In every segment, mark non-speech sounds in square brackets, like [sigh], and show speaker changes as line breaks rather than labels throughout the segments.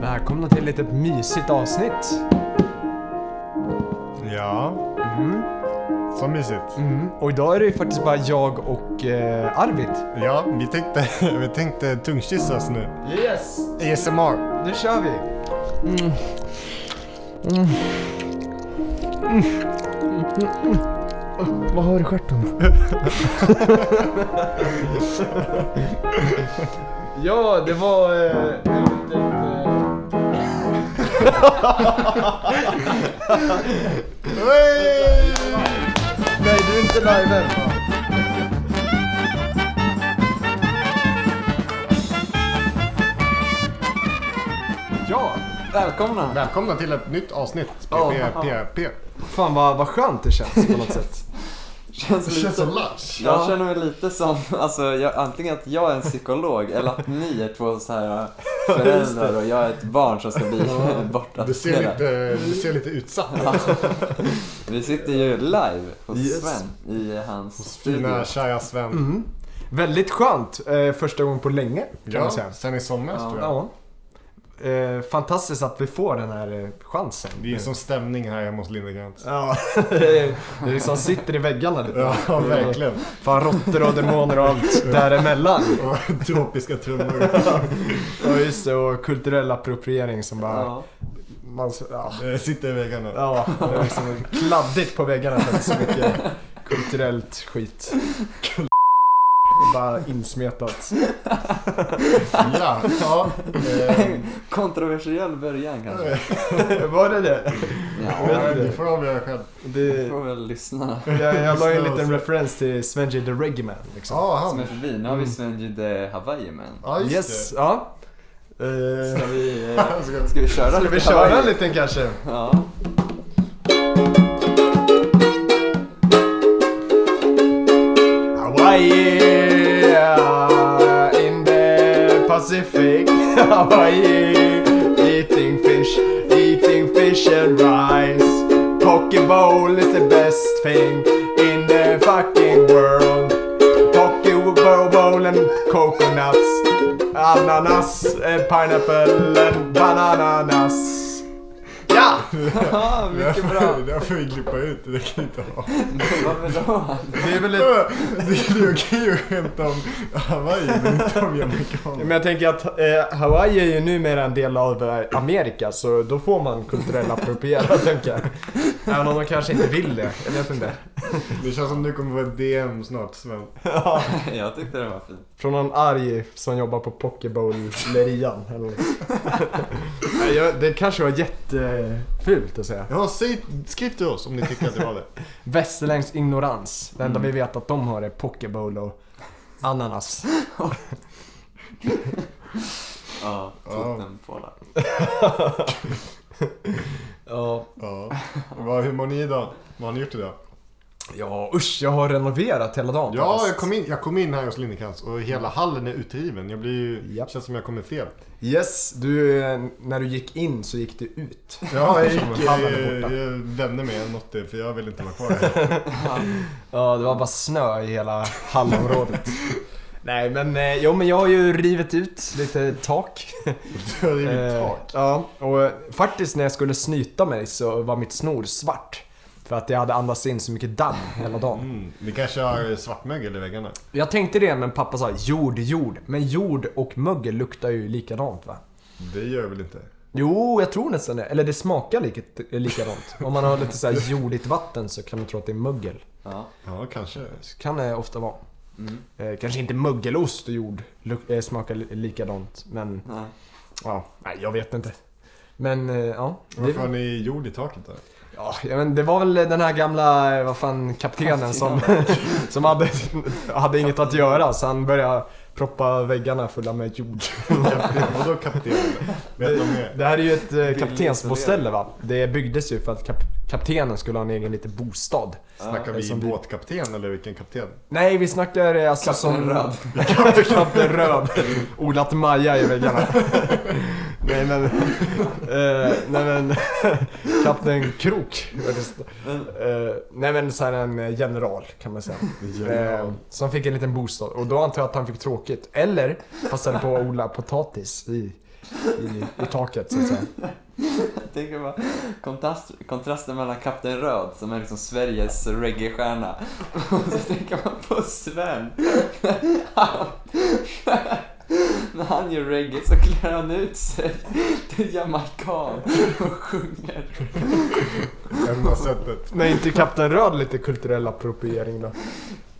välkomna till ett litet mysigt avsnitt.
Ja. Mm. Så mysigt.
Mm. Och idag är det ju faktiskt bara jag och eh, Arvid.
Ja, vi tänkte, [laughs] vi tänkte tungkyssas nu.
Yes! Mm.
ASMR.
Nu kör vi! Mm. Mm. Vad har du i stjärten? [laughs] ja, det var... Eh, det var ett, eh,
Hey!
nej, du är inte live än. Ja, välkomna!
Välkomna till ett nytt avsnitt.
Ja.
PPP.
Fan vad, vad skönt det känns på något [laughs] sätt.
Känns
Det
lite,
känns som lunch.
Alltså, Jag känner mig lite som, alltså, jag, antingen att jag är en psykolog eller att ni är två så här äh, föräldrar och jag är ett barn som ska bli [laughs] borta.
Du ser lite, du ser lite utsatt ut.
Vi sitter ju live hos
Yes.
Sven i hans
Fina
studio.
kära Sven.
Mm. Väldigt skönt. Eh, första gången på länge kan man säga.
Ja, sen i somras
Ja.
tror jag.
Ja. Eh, fantastiskt att vi får den här eh, chansen.
Det är som stämning här hemma hos Lindegrens.
Ja, [laughs] det är- det är liksom sitter i väggarna lite.
Ja, [laughs] verkligen.
Fan råttor och demoner och allt däremellan.
[laughs] Och tropiska trummor.
[laughs] Ja just det, och kulturell appropriering som bara...
Ja.
Man, ja,
Eh, Sitter i väggarna.
ja, det är liksom kladdigt på väggarna för att det är så mycket kulturellt skit. Bara insmetat.
Ja. ja. Eh,
[laughs] Kontroversiell början kanske.
Var det det?
Ja,
Ja, det får de göra själv.
vi
det
får väl lyssna.
jag, jag la ju en liten referens till Svenji the Reggae Man. Liksom.
Ja,
Som är
han.
förbi. Nu har vi Svenji the Hawaii man.
Mm. Ja, just
Yes,
det.
ja. Eh,
Ska vi, eh,
Han [laughs] ska-
ska vi köra
Ska
lite
vi köra en
Hawaii?
liten kanske?
Ja.
Hawaii in the Pacific. [laughs] Hawaii eating fish, eating fish and rice. Poke bowl is the best thing in the fucking world. Poke bowl bowl and coconuts, ananas, and pineapple and bananas. [laughs] Ja!
Ja,
Det här
mycket bra.
får- det här får vi klippa ut, det kan vi inte ha.
Varför då? [laughs]
Det är väl ett
Det är ju okej att skämta om Hawaii men inte om
Men
jamaicaner.
jag tänker att eh, Hawaii är ju numera en del av eh, Amerika så då får man kulturell appropriera [laughs] tänker jag. Även om de kanske inte vill det. Jag vet inte.
Det känns som du kommer få ett DM snart Sven.
[laughs] Ja.
Jag tyckte det var fint.
Från någon arg som jobbar på pokebowlerian eller något. [laughs] Nej, jag- Det kanske var jättefult att säga.
Ja, säg, skriv till oss om ni tycker att det var det.
Västerländsk ignorans. Det enda vi vet att de har är pokebowl och ananas.
Ja,
Ja.
totempålar.
Ja.
Ja. Vad, hur mår ni idag? Vad har ni gjort idag?
Ja usch, jag har renoverat hela dagen.
Ja, jag kom in, jag kom in här hos Lindekrans och hela hallen är utriven. Jag blir ju,
Japp.
känns som jag kommer fel.
Yes, du, eh, när du gick in så gick du [laughs] ut.
Ja, jag
gick-
gick, jag, jag vände mig eller något för jag vill inte vara kvar [laughs] här.
Ja, det var bara snö i hela [laughs] hallområdet. Nej men, eh, jo men jag har ju rivit ut lite tak.
Det är mitt
Eh,
tak.
Ja, och eh, faktiskt när jag skulle snyta mig så var mitt snor svart. För att jag hade andats in så mycket damm hela dagen.
Mm, vi kanske har svartmögel i väggarna.
Jag tänkte det men pappa sa jord, jord. Men jord och mögel luktar ju likadant va?
Det gör jag väl inte?
Jo, jag tror nästan det. Eller det smakar liket, likadant. Om man har lite så här jordigt vatten så kan man tro att det är mögel.
Ja.
Ja, kanske.
Så kan det ofta vara. Eh, kanske inte mögelost och jord luk- eh, smakar li- likadant, men
Nej.
ja, nej jag vet inte. Men eh, ja,
Varför har
det,
ni jord i taket då?
ja jag vet, inte, det var väl den här gamla, eh, vad fan, kaptenen som, [laughs] som hade, hade inget att göra så han började proppa väggarna fulla med jord.
Kapten, vadå kapten? Vet de mer?
Det här är ju ett eh, kaptensboställe va? Det byggdes ju för att kap- kaptenen skulle ha en egen liten bostad.
Snackar vi
Som vi-
båtkapten eller vilken kapten?
Nej, vi snackar eh, alltså som...
Kapten
[laughs]
Röd.
Kapten Röd. Odlat Maja i [laughs] väggarna. nej men... Eh, nej men... [laughs] Kapten Krok. faktiskt. Eh, nej men så här en eh, general kan man säga. Eh, som fick en liten bostad. Och då antar jag att han fick tråkigt. Eller passade på att odla potatis i i, i taket så att säga.
Jag tänker bara kontrast, kontrasten mellan Kapten Röd som är liksom Sveriges reggae-stjärna och så tänker man på Sven. [laughs] Han, när han gör reggae så klär han ut sig till jamaican och sjunger.
Enda sättet. [laughs]
Men inte Kapten Röd lite kulturell appropriering då?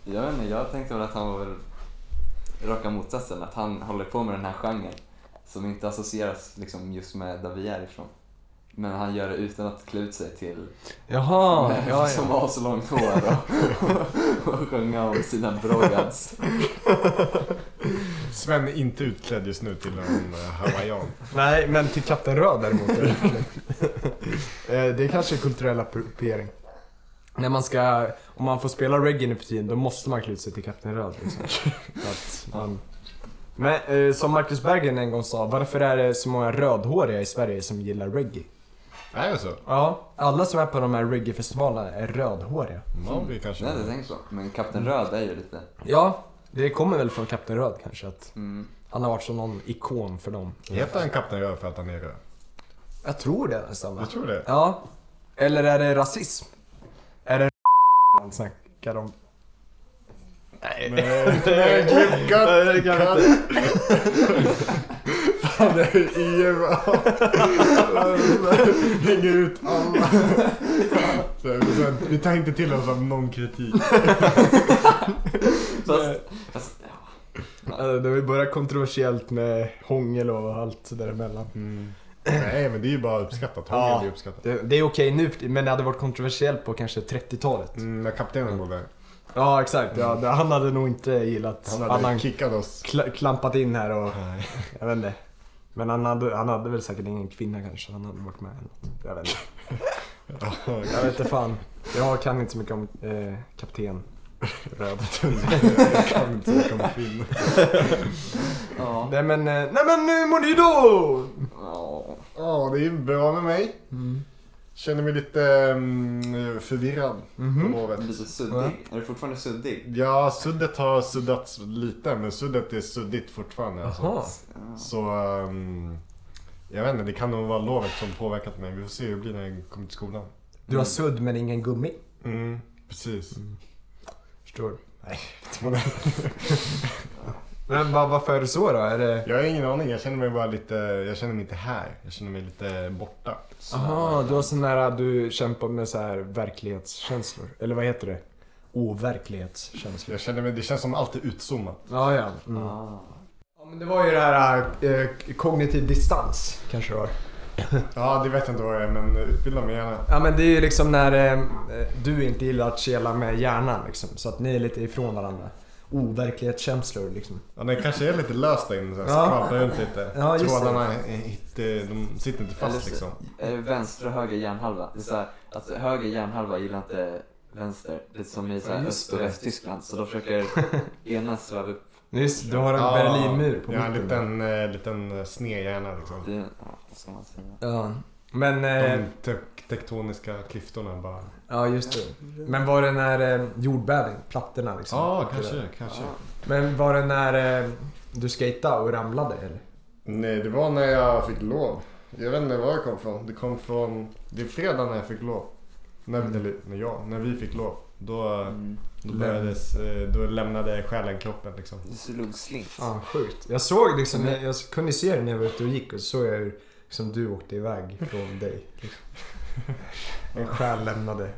Jag vet inte, jag tänkte väl att han var väl raka motsatsen, att han håller på med den här genren som inte associeras liksom just med där vi är ifrån. Men han gör det utan att klä ut sig till
Jaha,
män [laughs] som har så långt hår och, och sjunga om sina brojads.
Sven är inte utklädd just nu till en eh, hawaiian.
Nej, men till Kapten Röd däremot. är det verkligen. Eh, det är kanske kulturell appropriering. När man ska, om man får spela reggae nu för tiden, då måste man klä ut sig till Kapten Röd. Liksom. Att man... Men eh, som Marcus Berggren en gång sa, varför är det så många rödhåriga i Sverige som gillar reggae?
Är det så?
Ja, alla som är på de här reggae-festivalerna är rödhåriga.
Ja, vi kanske...
Jag hade inte tänkt så, men Kapten Röd är ju lite...
Ja, det kommer väl från Kapten Röd kanske, att
Mm.
han har varit som någon ikon för dem.
Heter han Kapten Röd för att han är röd?
Jag tror det nästan va?
Jag tror det.
Ja. Eller är det rasism? Är det [laughs] han snackar om? Nej.
Nej, nej, klipp,
Nej, det kan jag inte.
Han är IRA. Hänger ut alla. Så, men Vi tar inte till oss av någon kritik.
Fast, fast
Alltså, Det har ju börjat kontroversiellt med hångel och allt däremellan.
Mm. Nej, men det är ju bara uppskattat. Hångel
Ja.
är uppskattat.
Det, det är okej nu, men det hade varit kontroversiellt på kanske 30-talet.
Mm, när kaptenen bodde här.
Ja, exakt. Ja, det, han hade nog inte gillat...
Han hade kickat oss.
kla- klampat in här och... Jag vet inte. Men han hade, han hade väl säkert ingen kvinna kanske. Han hade varit med eller något. Jag vet inte. Jag vet inte fan. Jag kan inte så mycket om eh,
[laughs]
kapten.
Röda tunnor. Jag kan inte så mycket om kvinnor.
ja.
Nej men, eh, nej men nu mår ni då!
ja.
Ja, det är bra med mig.
Mm.
Känner mig lite mm, förvirrad
Mhm.
på lovet.
Lite suddig. Är du fortfarande suddig?
Ja, suddet har suddats lite, men suddet är suddigt fortfarande. Alltså.
Jaha.
Så ehm, jag vet inte, det kan nog vara lovet som påverkat mig. Vi får se hur det blir när jag kommer till skolan.
Du har sudd men ingen gummi.
Mm, precis.
Förstår. Nej. men va, varför är det så då? Är det...
Jag har ingen aning, jag känner mig bara lite, jag känner mig inte här. Jag känner mig lite borta.
Aha, du har sån där, du kämpar med så här verklighetskänslor. Eller vad heter det? Overklighetskänslor.
Jag känner mig, det känns som allt är utzoomat.
Ja, ja. Mm.
Ah.
Ja, men det var ju det här eh, kognitiv distans kanske det var.
Ja, det vet jag inte vad det är, men utbilda mig gärna.
Ja men det är ju liksom när eh, du inte gillar att kela med hjärnan liksom. Så att ni är lite ifrån varandra. Overklighetskänslor liksom.
Ja, den kanske är lite lös där inne, så här,
Ja.
skvalpar runt lite.
Ja, just det.
Trådarna är- är- de sitter inte
Eller
fast
så-
liksom.
Eh, Vänster och höger hjärnhalva. Det är så här, att höger hjärnhalva gillar inte vänster. Det är som i så här
Ja, just
Öst och
det.
Västtyskland. Så de
[laughs]
försöker ena sväva upp.
Just du har en
Ja,
Berlinmur på
Jag har en
mitten. där.
liten, eh, liten eh, snedhjärna liksom.
Det, ja, vad ska man säga?
Ja. Men, eh,
De te- tektoniska klyftorna bara.
ja just det. Men var det när eh, jordbävning, plattorna liksom?
kanske.
Men var det när eh, du skejtade och ramlade eller?
Nej, det var när jag fick lov. Jag vet inte var det kom från. Det kom från... Det är fredag när jag fick lov. När,
Mm.
Eller när jag, när vi fick lov. Då,
Mm.
då, börjades, eh, då lämnade själen kroppen liksom.
Du slog slint.
Ja, sjukt. Jag såg liksom,
Mm.
jag, jag kunde se det när jag var ute och gick och så såg jag hur liksom, du åkte iväg från dig.
[laughs]
Liksom. En själ lämnade.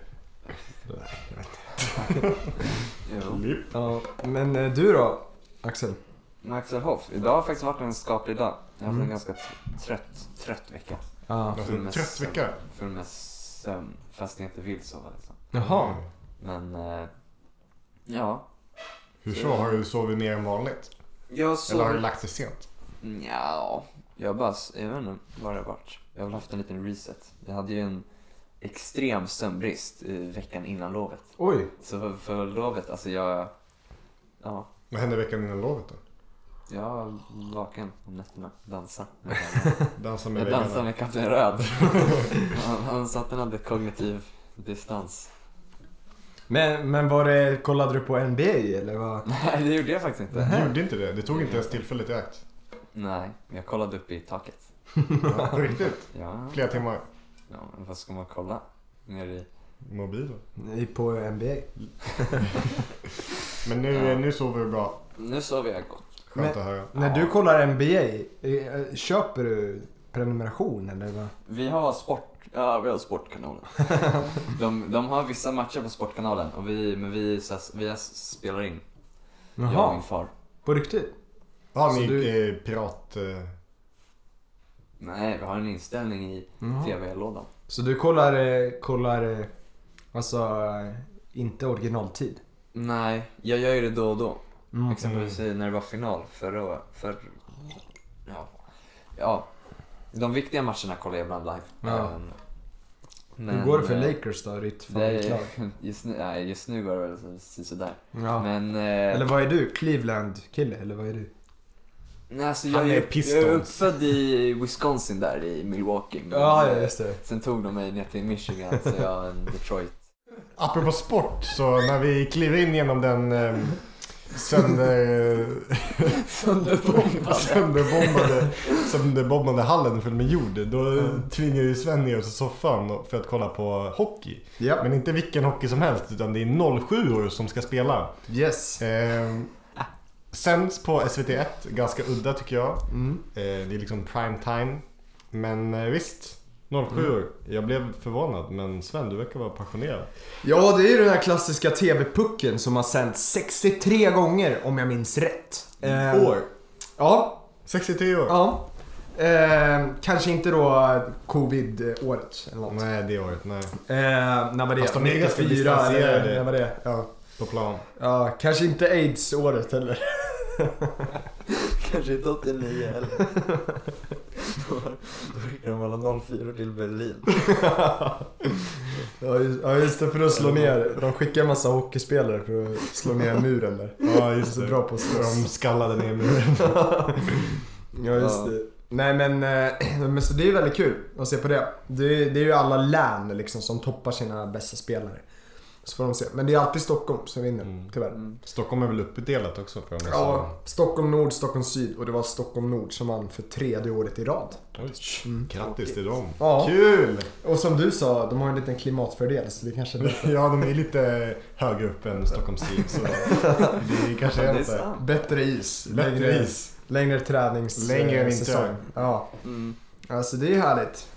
Jo.
Klipp.
Ja, men eh, du då Axel?
Men Axel Hoff, idag har faktiskt varit en skaplig dag. Jag har haft
Mm.
en ganska t- trött, trött vecka.
Ja.
Alltså, Trött vecka.
Full med sömn, fast jag inte vill sova liksom.
Jaha.
Mm.
Men, eh, ja.
Hur så? Har du sovit mer än vanligt?
Jag
Eller har du
sov...
lagt dig sent?
Nja, jag bara, s- jag vet inte vad det har varit. Jag har väl haft en liten reset. Jag hade ju en extrem sömnbrist eh, veckan innan lovet.
Oj.
Så för, för lovet, alltså jag, ja,
Vad hände veckan innan lovet då?
jag var vaken om nätterna. Dansa.
Dansa med
Jag
väggarna?
dansade med Kapten Röd. Han, han sa att han hade kognitiv distans. [laughs]
Men, men var det, kollade du på NBA eller vad?
Nej, det gjorde jag faktiskt inte.
Gjorde inte det? Det tog inte ens tillfället i akt.
Nej, jag kollade upp i taket.
Ja, på riktigt.
Ja,
Flera timmar.
ja men vad ska man kolla? Ner i...
Mobilen.
Ni på NBA.
Men nu,
Ja.
nu sover du bra.
Nu sover jag gott.
Skönt att höra.
När du kollar NBA, eh, köper du prenumeration eller vad?
Vi har sport... Ja, vi har [laughs] sportkanalen. De, de har vissa matcher på sportkanalen, och vi, men vi, så, här- vi spelar in. Jag och min
Jaha,
far.
på riktigt?
Har
Så
ni
du-
eh, pirat... Eh,
Nej, vi har en inställning i
Jaha.
tv-lådan.
Så du kollar, eh, kollar eh, alltså eh, inte originaltid?
Nej, jag gör ju det då och då.
Mm.
Exempelvis när det var final förra året. För, ja. ja. De viktiga matcherna kollar jag ibland live.
Ja.
Ehm,
Hur går det för
eh,
Lakers då, ditt
Det,
favoritlag?
[laughs] just, nu, nej, just nu går det väl så- sådär.
Ja.
Men... Eh,
Eller vad är du? Cleveland-kille, eller vad är du?
nej, alltså,
Han
jag,
är
är
Pistons.
jag är uppfödd i Wisconsin där i Milwaukee. Men,
Ja, ja
eh,
just det.
Sen tog de mig ner till Michigan så jag är en Detroit.
apropå sport, så när vi kliver in genom den eh, sönder... [laughs]
Sönderbombad.
sönderbombade, sönderbombade hallen full med jord. Då tvingar ju Sven ner oss i soffan för att kolla på hockey.
Ja,
Men inte vilken hockey som helst utan det är 07 år som ska spela.
yes.
Eh, sänds på SVT1, ganska udda tycker jag.
Mm.
Eh, det är liksom prime time. Men eh, visst, 07 år. Jag blev förvånad men Sven du verkar vara passionerad.
Ja, det är ju den här klassiska TV-pucken som har sänts 63 gånger om jag minns rätt. Eh,
År?
Ja,
63 år?
ja. Eh, kanske inte då covid-året eller något.
Nej det året, nej.
Eh, när var det?
Fast de är ganska
94 eller
distanserade.
när var det? Ja.
På plan.
ja, kanske inte aids-året [laughs] heller.
[laughs] Kanske inte 89 heller. [laughs] Då var- då skickade de alla 04 till Berlin.
Ja just, ja, just det, för att slå ner. De skickar en massa hockeyspelare för att slå ner muren där.
Ja
Det är
just
så
det.
bra på att slåss.
De skallade ner muren.
[laughs] Ja just det. Nej men, eh, [clears throat] men så det är ju väldigt kul att se på det. Det är, det är ju alla län liksom som toppar sina bästa spelare. Så får de se. Men det är alltid Stockholm som vinner,
Mm.
tyvärr.
Mm.
Stockholm är väl uppdelat också för de här
Ja,
sidorna.
Stockholm Nord, Stockholm Syd och det var Stockholm Nord som vann för tredje året i rad.
Oj,
Mm.
Grattis till dem.
Ja.
Kul!
Och som du sa, de har ju en liten klimatfördel så det kanske är
Ja, de är lite högre upp än Stockholms tid så det är kanske
Det
är
är
inte.
sant.
bättre is.
Mm. Bättre
längre,
is.
längre tränings-
Längre
eh,
vinter.
säsong. Ja,
Mm.
alltså det är härligt.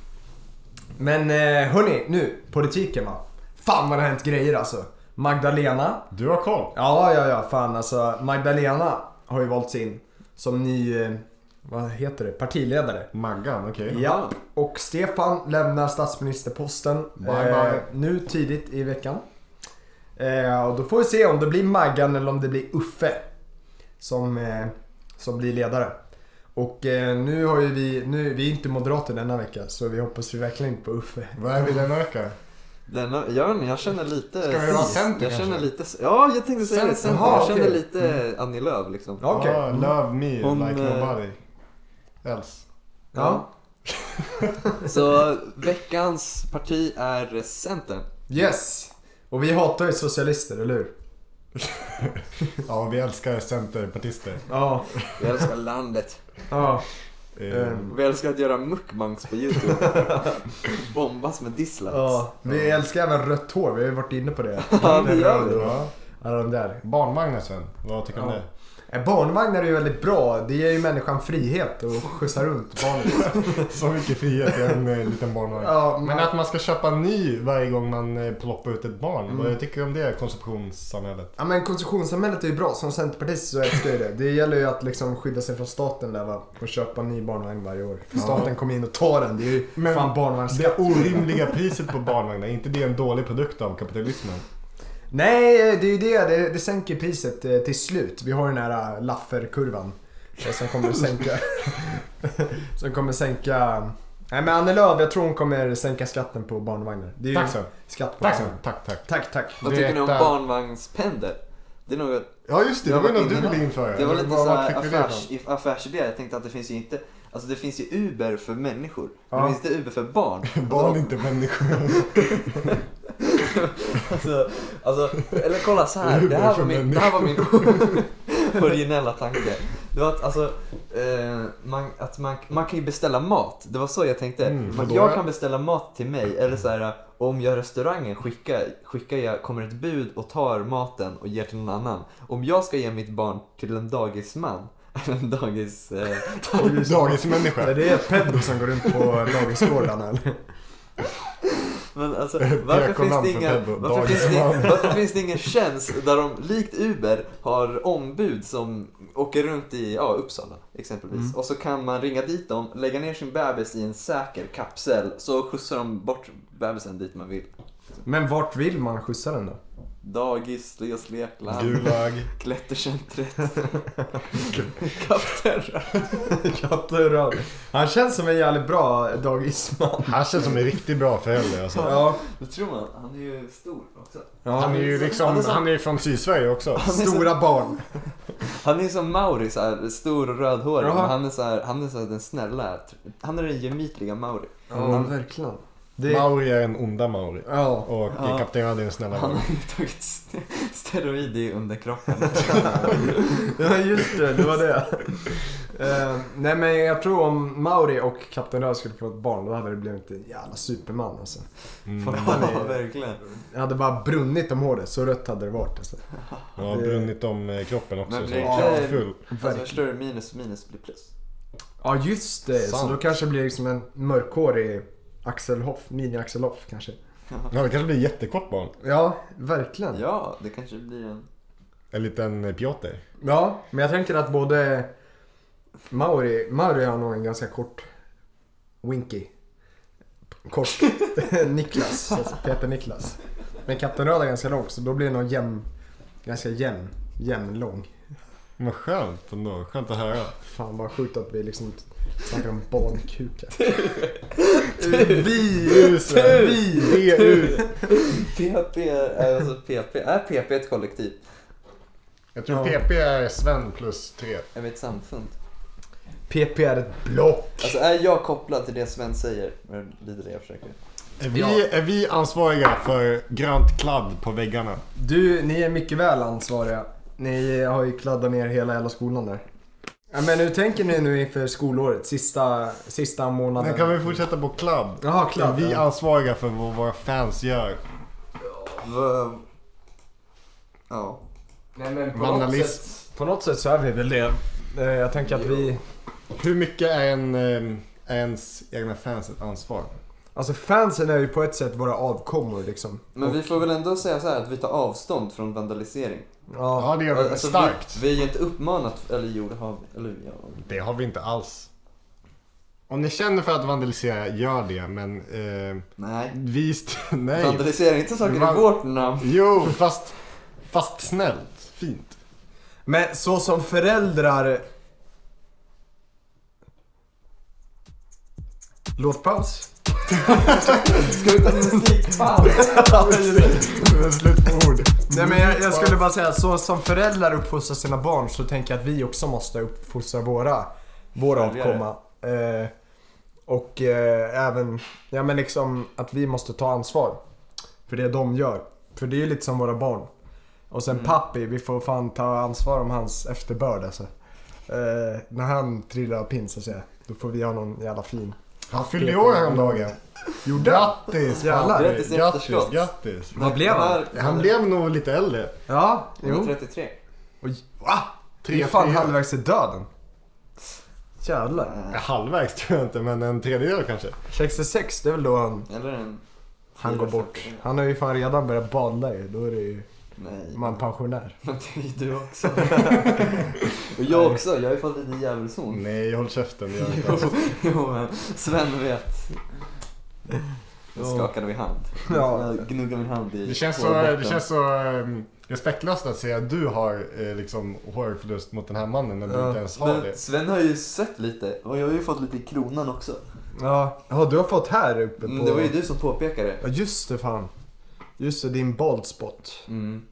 Men eh, hörni, nu politiken va. Fan vad det har hänt grejer alltså. Magdalena
Du har koll.
Ja, ja, ja. Fan alltså. Magdalena har ju valts in som ny, eh, vad heter det, partiledare.
Maggan, okej.
Ja. Och Stefan lämnar statsministerposten eh,
Bye, bye.
nu tidigt i veckan. Eh, och då får vi se om det blir Maggan eller om det blir Uffe som, eh, som blir ledare. Och eh, nu har ju vi, nu, vi är inte moderater denna vecka så vi hoppas ju verkligen inte på Uffe.
Vad är vi denna vecka?
Denna, jag, vet inte, jag känner lite...
Ska vi vara
sis.
center
Jag känner
kanske?
lite... Ja, jag tänkte säga det. Center.
Jaha,
jag känner
okej.
lite Annie Lööf liksom.
Ja, Okej.
Ah, love me
Hon,
like
eh,
nobody else.
Ja.
Så veckans parti är Centern.
Yes. Och vi hatar ju socialister, eller hur?
Ja, vi älskar centerpartister.
Ja.
Vi älskar landet.
Ja.
Eh,
Ehm,
Vi älskar att göra mukbangs på YouTube. Bombas med dislikes.
Ja, vi älskar även rött hår. Vi har ju varit inne på det.
Ja, det gör vi.
ja.
Alla de där.
Barnvagnar Sven, vad tycker du om
Ja.
det?
Eh, Barnvagnar är ju väldigt bra. Det ger ju människan frihet att skjutsa runt barnet.
Så mycket frihet i en eh, liten barnvagn.
Ja,
Men
man,
att man ska köpa en ny varje gång man eh, ploppar ut ett barn. Vad tycker du om det konsumtionssamhället?
ja, men konsumtionssamhället är ju bra. Som centerpartist så älskar jag ju det. Det gäller ju att liksom skydda sig från staten där va. Och köpa en ny barnvagn varje år. För
Ja.
staten kommer in och tar den. Det är ju
Men
fan
Det
barnvagnsskatt.
orimliga priset på barnvagnar, är inte det en dålig produkt av kapitalismen?
Nej, det är ju det. Det, det sänker priset eh, till slut. Vi har ju den här eh, Laffer-kurvan. eh, Som kommer att sänka... [laughs] som kommer sänka... Nej men Annie Lööf, jag tror hon kommer sänka skatten på barnvagnar. Det är ju
Tack Sven.
skatt på
Tack Sven.
barnvagnar.
Tack, tack.
Tack, tack.
Vad
Det
tycker ni om
där-
barnvagnspendel? Det är nog
Ja just det, det
Jag
var ju
var
något du
inne-
ville införa.
Det var lite
Var-
så
vart
här
fick vi det ifrån?
affärs, if- affärsidé. Jag tänkte att det finns ju inte... Alltså det finns ju Uber för människor.
Ja.
Det finns inte Uber
[laughs]
för barn.
Barn är inte människor.
Alltså, alltså, eller kolla så här.
Uber
Det här
för
[laughs] var min, det här var min originella tanke. Det var att alltså, eh, man, att man, man kan ju beställa mat. Det var så jag tänkte.
Mm,
man,
då
jag
är-
kan beställa mat till mig eller så här om jag i restaurangen skickar, skickar jag, kommer ett bud och tar maten och ger till någon annan. Om jag ska ge mitt barn till en dagisman [laughs] eller en dagis... Eh,
Dagismänniska.
Är det pedo som går [laughs] runt på dagisgårdarna eller? [laughs]
Men alltså, varför finns,
Diakonan
det
för
inga,
Pedro,
varför, finns
dagisman.
det, [laughs] varför finns det ingen tjänst där de likt Uber har ombud som åker runt i ja, Uppsala exempelvis.
Mm.
Och så kan man ringa dit dem, lägga ner sin bebis i en säker kapsel så skjutsar de bort bebisen dit man vill.
Men vart vill man skjutsa den [laughs] då?
Dagis, Leos lekland,
Gulag.
[laughs]
[laughs]
Klättercentret, [laughs] Kapten
Katterad. Han känns som en jävligt bra dagisman.
Han känns som en riktigt bra förälder alltså.
Ja,
Det tror man, han är ju stor också.
Han
ja.
är ju
Han är
liksom,
så-
han är ju från Sydsverige också.
Han är så-
Stora barn.
Han är som Mauri, så här, stor och rödhårig.
Jaha.
men Han är, så här, han är så här, den snälla. Han är den gemytliga Mauri.
Ja, verkligen. Det,
Mauri är den onda Mauri.
ja.
Och
Ja.
Kapten Röd är den snälla
Han
Mauri.
har ju tagit st- steroid i underkroppen.
Mm.
ja, just det. Det var det. Eh, nej men jag tror om Mauri och Kapten Röd skulle få ett barn då hade det blivit en jävla superman alltså.
Mm.
Fan,
[laughs] ja,
det-
verkligen.
Det hade bara brunnit om håret, så rött hade det varit alltså.
Han har
det-
brunnit om eh, kroppen också.
Men
Så
det-
ja, full.
Alltså förstår du, minus och minus blir plus.
Ja just det, så
Sant.
då kanske det blir liksom en mörkhårig Axel Hoff, mini Axel Hoff kanske.
Ja, det kanske blir jättekort barn.
Ja, verkligen. Ja.
Ja, det kanske blir en...
En liten eh, Piotr.
men jag tänker att både Mauri, Mauri har nog en ganska kort Winky. Kort [laughs] Niklas, alltså Peter Niklas. Men Kapten Röd är ganska lång så då blir det nog jämn, ganska jämn, jämn lång.
Men skönt ändå. Skönt att höra.
Fan vad sjukt att vi liksom snackar om barnkukar. Vi!
Tusen!
Vi!
VU!
PP är, alltså PP, är PP ett kollektiv?
Jag tror
Ja.
PP är Sven plus tre.
Är vi ett samfund?
PP är ett block.
Alltså är jag kopplad till det Sven säger? Det är det jag försöker.
Är vi,
Ja.
är vi ansvariga för grönt kladd på väggarna?
Du, ni är mycket väl ansvariga. Ni har ju kladdat ner hela jävla skolan där. Ja, men hur tänker ni nu inför skolåret? Sista, sista månaden?
Men kan vi fortsätta på kladd?
Jaha,
Är
kladd.
vi
ja.
ansvariga för vad våra fans gör?
V- Ja.
Nej, men på, något
Vandalism.
sätt, på något sätt så är vi väl det. Eh, Jag tänker att vi...
Hur mycket är, en, eh, är ens egna fans ett ansvar?
Alltså fansen är ju på ett sätt våra avkommor liksom.
Men vi får väl ändå säga så här att vi tar avstånd från vandalisering.
Ja.
Ja, det gör vi.
Alltså,
Starkt.
Vi, vi är ju inte uppmanat, eller jo det har vi. Eller, ja.
Det har vi inte alls. Om ni känner för att vandalisera, gör det. Men eh,
Nej.
vi... st- [laughs] Nej.
Vandalisering, inte saker
Van-
i vårt namn.
Jo, fast, fast snällt. Fint.
Men så som föräldrar... Låtpaus.
Ska vi ta en musikpaus?
Men Slut på ord.
Nej men jag, jag skulle bara säga, så som föräldrar uppfostrar sina barn så tänker jag att vi också måste uppfostra våra, våra
Följare.
avkomma. Eh, och eh, även, ja men liksom att vi måste ta ansvar för det de gör. För det är ju lite som våra barn. Och sen pappi, vi får fan ta ansvar om hans efterbörd alltså. Eh, när han trillar av pin så att säga, då får vi ha någon jävla fin.
Han fyllde ju år häromdagen.
Gjorde han?
Grattis!
Jävlar.
Patrik.
Grattis i
Grattis!
efterskott.
Grattis!
Vad blev han?
Här-
Han blev nog lite äldre.
Ja,
Han är
jo.
33.
Och, va? Det är
Tre,
fan
fyra.
halvvägs till döden. Jävlar.
Ja, Halvvägs tror jag inte, men en tredjedel kanske.
Mm.
66, det är väl då han,
Eller en...
han går bort.
4,44.
Han har ju fan redan börjat bada ju. Då är det ju
Nej.
man pensionär.
[laughs] Men det är ju du
[laughs]
också. Och jag också, jag har ju fått lite djävulshorn. [laughs]
Nej, håll käften. det gör jag inte
Jo,
alls.
jo men Sven vet. Nu skakade vi hand.
Ja.
Jag gnuggade min hand i
Det känns så,
hårbotten.
det känns så ehm, respektlöst att säga att du har eh, liksom hårförlust mot den här mannen när du
Ja.
inte ens har
Men
det.
Sven har ju sett lite och jag har ju fått lite i kronan också.
Ja, ja du har fått här uppe på...
Mm, det var ju du som påpekade det.
Ja just det fan. Just det, din bald spot.
Mm.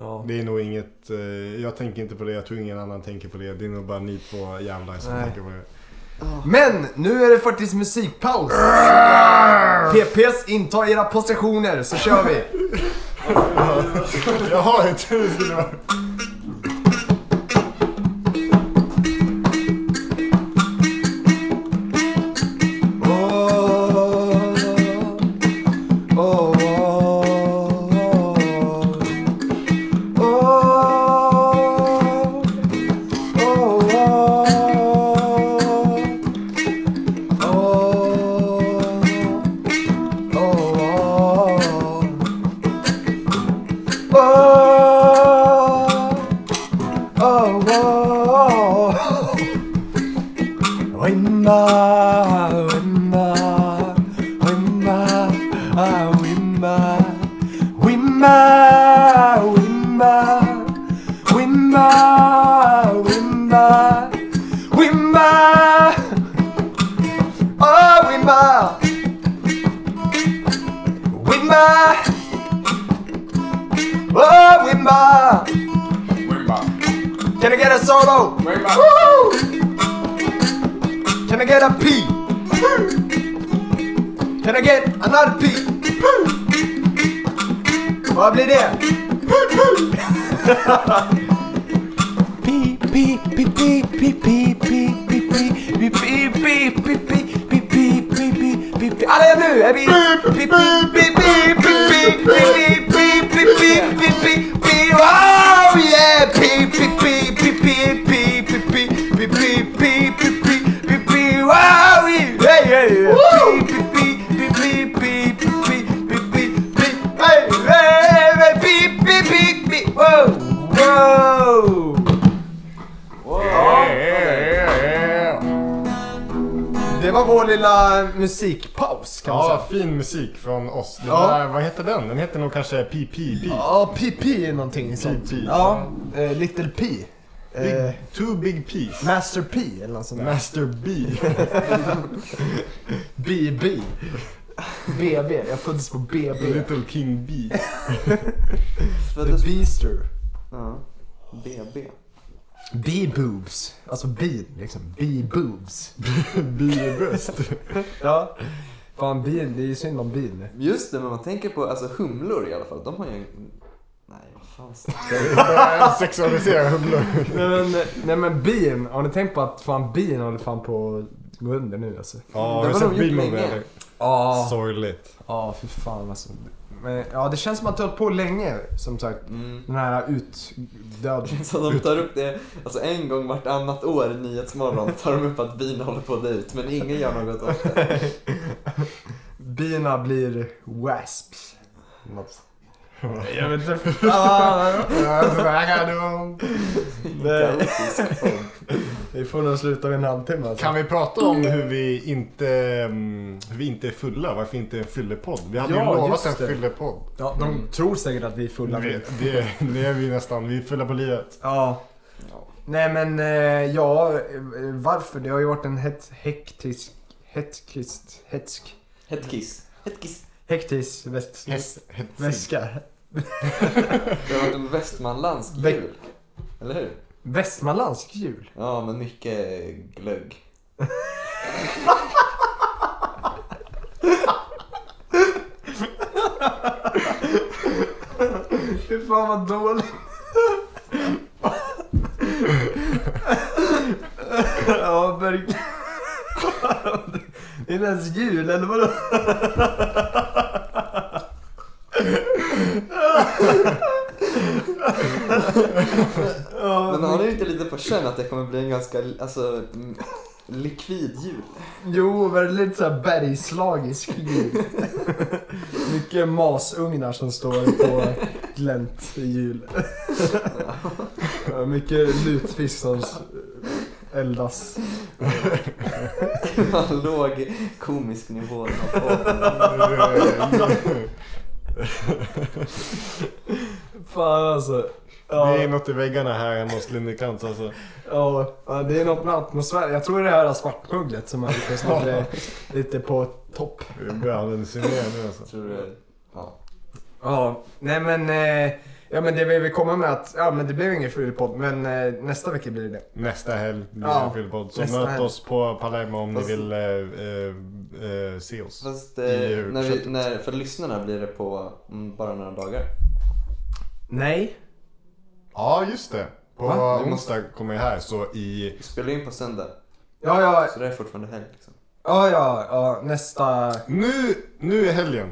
Ja.
Det är nog inget, eh, jag tänker inte på det, jag tror ingen annan tänker på det. Det är nog bara ni två jävlar som
Nej.
tänker på det.
Men nu är det faktiskt musikpaus. PPS, inta era positioner så kör vi.
Jaha, jag trodde det skulle vara...
ah, Oh, my with my oh with my can I get a solo? Woo! Can I get a P? Can I get another P? Vad blir det? P, P, P, P, P, P, P, P, P, P, P, P, P, P, P, P, P, P, P, P. Alla är nu! Är vi... P, P, P, P, P, P, P, P, P, P, P, P, P, P. Oh yeah! P, P, P, P, P, P, P, P, P, P, P, P, P, P, P. Wow! yeah. Hey, hey, hey. P, P, P, P, P, P, P, P, P, P. Hey, hey, hey. P, P, P, P. Wow! Wow!
Det var vår lilla musikpaus kan man säga.
Ja, fin musik från oss. Den
Ja.
där, vad heter den? Den heter nog kanske PPP.
Ja, PP är någonting sånt.
PP.
Ja, eh, Little P. Eh,
Big, too big piece.
Master P eller något sånt där.
Master B.
BB. BB, jag föddes på BB.
Little King B.
The Beaster.
Ja. BB.
B-boobs. Alltså bi, liksom. B-boobs.
B är bäst.
Ja. Fan, bin, det är ju synd om bin.
Just det, men man tänker på alltså humlor i alla fall. De har ju... Nej, vad fan.
Börjar Sexualisera humlor.
Nej men, nej men bin, har ni tänkt på att fan bin håller fan på att gå under nu alltså?
Ja,
Det
har du
var
sett
nog gjort
bilden
länge.
eller?
Ja,
Sorgligt.
ja fy fan alltså. Men, ja det känns som att det har hållit på länge som sagt.
Mm.
Den här utdöd...
[laughs] Så de tar upp det, alltså en gång vartannat år i Nyhetsmorgon tar de upp att bin håller på att dö ut, men ingen gör något åt det.
Bina blir wasps. Jag vet inte. Fan. [laughs] Nej,
Kaotisk form.
Vi får nog sluta vid en halvtimme alltså.
Kan vi prata om hur vi inte, mm, hur vi inte är fulla? Varför vi inte är en fyllepodd? Vi hade
Ja,
ju
just
lovat en
det.
fyllepodd.
Ja, de tror säkert att vi är fulla.
Det, det, det är vi nästan. Vi är fulla på livet.
Ja.
Ja.
Nej men eh, ja, eh, varför? Det har ju varit en het, hektisk, hetkist, hetsk,
Hetkiss. Hetkiss.
hektisk väst,
Häst, hetsig. [laughs]
väska.
Det har varit en västmanländsk
Ve-
jul. Eller hur?
Västmanländsk jul?
Ja, men mycket glögg.
Fy fan vad dåligt. ja, verkligen. Det är inte ens jul, eller vadå?
Men har ni inte lite på känn att det kommer bli en ganska, alltså, mm, likvid jul? [laughs]
Jo, väldigt såhär bergslagisk [laughs] jul. Mycket masugnar som står på glänt i jul. Ja, Mycket lutfisk som s- eldas.
Man låg komisk nivå av podden.
Fan alltså.
Det är
Ja,
något i väggarna här hemma hos Lindekrantz alltså.
ja, ja, det är något med atmosfären. Jag tror det här svartmugglet som är liksom lite, lite på topp.
Vi börjar hallucinera nu alltså.
Tror du? Ja.
Ja, nej men. Eh, ja men det vi vill komma med att, ja men det blev ingen fyllepodd men eh, nästa vecka blir det det.
Nästa helg blir
Ja,
det en fyllepodd. Så
nästa
möt
helg.
oss på Palermo om
Fast-
ni vill eh, eh, eh, se oss.
Fast eh,
I
när vi,
köttet.
när, för lyssnarna blir det på mm, bara några dagar.
Nej.
Ja, just det. På
Va?
onsdag kommer jag här, så i...
Vi spelar in på söndag,
Ja, ja,
så det är fortfarande helg. Liksom.
Ja, ja, ja, nästa...
Nu, nu är helgen.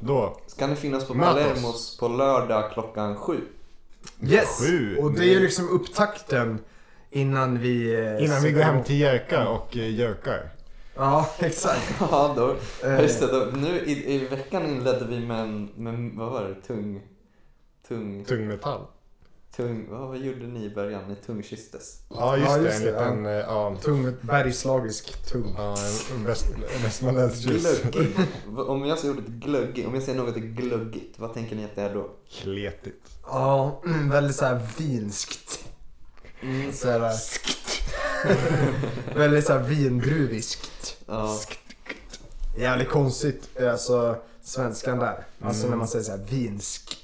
Då.
Så kan ni finnas på
Möt oss.
Palermos på lördag klockan sju. [laughs]
Yes!
Sju.
Och det är ju liksom upptakten innan vi... eh,
Innan vi
sätter
går hem
igång.
till Jerka och eh, Jerkar.
Ja, [laughs] exakt.
Ja, då.
Eh.
Just det, då, nu i, i veckan inledde vi med en, med, vad var det, tung... Tung...
Tungmetall.
tung vad, vad gjorde ni i början? Ni tungkysstes.
Ja, just,
Ja,
det.
just
En
det,
liten... eh, Ja.
Tung, bergslagisk tung.
Ja, en väst- en västmanländsk
Glögg. [laughs] om jag säger ordet glöggig, om jag säger något är glöggigt, vad tänker ni att det är då?
Kletigt.
Ja, mm, väldigt såhär vinskt.
Mm,
Så här, eh, [laughs] väldigt såhär vindruviskt.
ja.
jävligt konstigt, alltså svenskan där. Alltså när man säger såhär vinsk.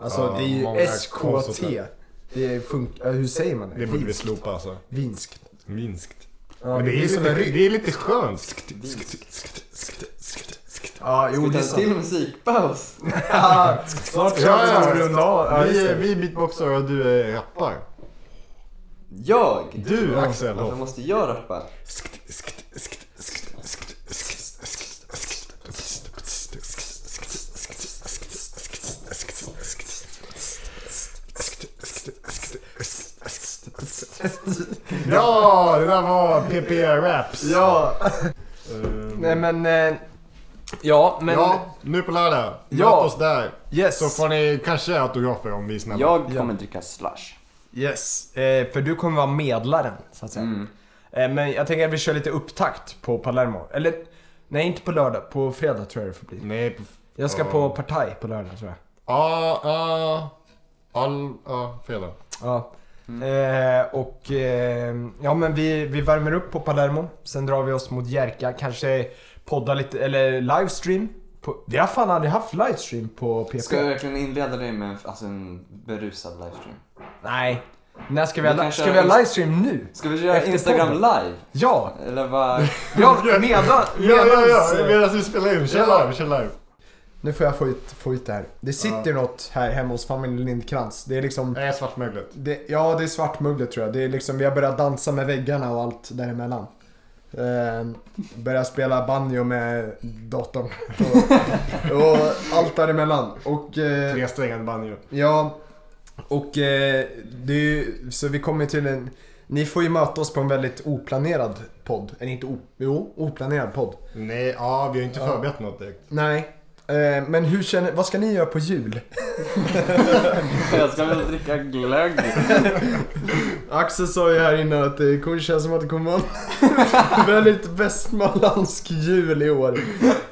Alltså
Ja,
det är
många
ju SKT.
konsonanter.
Det är funk- äh, hur säger man det?
Det borde vi
Vinsk.
slopa alltså.
Vinsk.
Minskt.
Ja,
Men det är,
blir
lite,
som en rygg.
det är lite skönt. Skt,
Vinst.
skt, skt, skt, skt, skt.
Ja,
Ska
jo
vi
det
ta
är
en till
sant.
musikpaus?
Ja, Snart kan
Ja, ja.
vi runda av. Ja, just
Vi, är-
det.
vi är beatboxar och du är rappar.
Jag?
Du Axel.
Varför måste jag rappa?
Skt, skt, skt, skt, skt, skt, skt, skt. Ja, det där var PPR Raps.
Ja,
Ehm,
nej men... eh, Ja, men...
ja, nu på lördag. Möt
Ja.
oss där.
Yes.
Så får ni kanske autografer om vi är snälla.
Jag
Ja.
kommer dricka slush.
Yes, eh, för du kommer vara medlaren så att säga.
Mm.
Eh, men jag tänker att vi kör lite upptakt på Palermo. Eller nej, inte på lördag. På fredag tror jag det får bli.
Nej, på...
Jag ska
Ja.
på partaj på lördag tror jag.
Ja, ja. All... Ja, fredag.
Ja. Eh, och eh, ja men vi, vi värmer upp på Palermo. Sen drar vi oss mot Jerka. Kanske podda lite eller livestream. På, vi har fan aldrig haft livestream på PP.
Ska jag verkligen inleda dig med en, alltså en berusad livestream?
Nej. När ska vi,
Vi
ha,
kan
ska
köra
vi ha
inst-
livestream nu?
Ska vi köra
Efter
Instagram
podden.
live?
Ja!
Eller vad?
Ja, medan...
Ja, ja, ja.
medans-
Medan vi spelar in. Kör
Ja.
live, kör live.
Nu får jag få ut, få ut det här. Det sitter ju något här hemma hos familjen Lindkrans. Det är liksom...
Det är svartmöglet.
Det, ja, det är svartmugglet tror jag. Det är liksom, vi har börjat dansa med väggarna och allt däremellan. Ehm, börjat spela banjo med datorn. [laughs] Och, och allt däremellan. Och... eh,
Tresträngad banjo.
Ja, och eh, det är ju, så vi kommer till en... Ni får ju möta oss på en väldigt oplanerad podd. Eller inte o, jo, oplanerad podd.
Nej, ja, vi har inte förberett något direkt.
Nej. Eh, men hur känner, vad ska ni göra på jul?
[laughs] jag ska väl dricka glögg.
[laughs] Axel sa ju här innan att eh, det kommer kännas som att det kommer vara en [laughs] väldigt västmanländsk jul i år.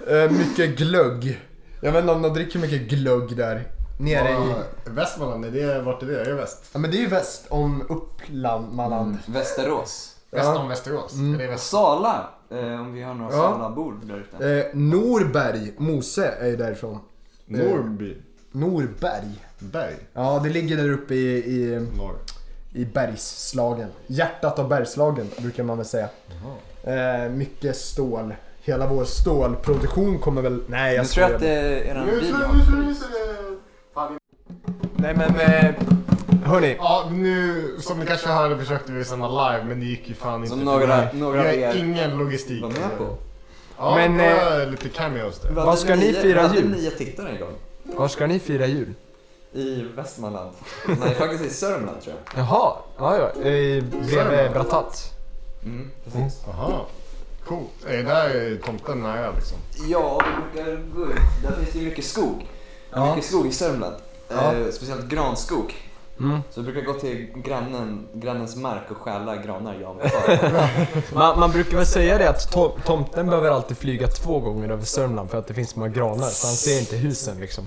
Eh, mycket glögg. Jag vet inte om de dricker mycket glögg där. Nere i...
Vad- Västmanland, är det, vart är det? Är det väst?
Ja men det är ju väst om Uppland, Malland.
Västerås.
Väst
Ja.
om Västerås? Är det väst?
Sala. Eh, om vi har några
Ja.
Sala-bord där ute.
Eh, Norberg, Mose är ju därifrån.
Norrby?
Norberg.
Berg?
Ja, det ligger där uppe i, i,
Norr.
i bergsslagen. Hjärtat av Bergslagen brukar man väl säga. Eh, mycket stål. Hela vår stålproduktion kommer väl... Nej, jag
Jag tror
skojar.
att eh, eran bil
nu
har fryst.
fryser det!
Nej men, eh, hörni.
Ja, nu som ni kanske hörde försökte vi sända live men det gick ju fan inte.
Som några,
Vi
några av
har
er
ingen logistik.
var med på.
Ja,
Men,
men, eh, lite cameos där.
Vad ska ni fira
jul? Vi
jul?
hade nio tittare en gång.
Var ska ni fira jul?
I Västmanland. Nej, faktiskt i Sörmland tror jag.
Jaha, ja ja. Eh, bredvid Bratat.
Mm, precis.
Jaha. Coolt. Är det Eh, där tomten nära liksom?
Ja, vi brukar gå ut. Där finns det ju mycket skog.
Ja.
Mycket skog i Sörmland.
Ja.
Eh, speciellt granskog.
Mm.
Så vi brukar gå till grannen, grannens mark och stjäla granar jag och min far.
Man, man brukar väl säga det att to- tomten behöver alltid flyga två gånger över Sörmland för att det finns så många granar så han ser inte husen liksom.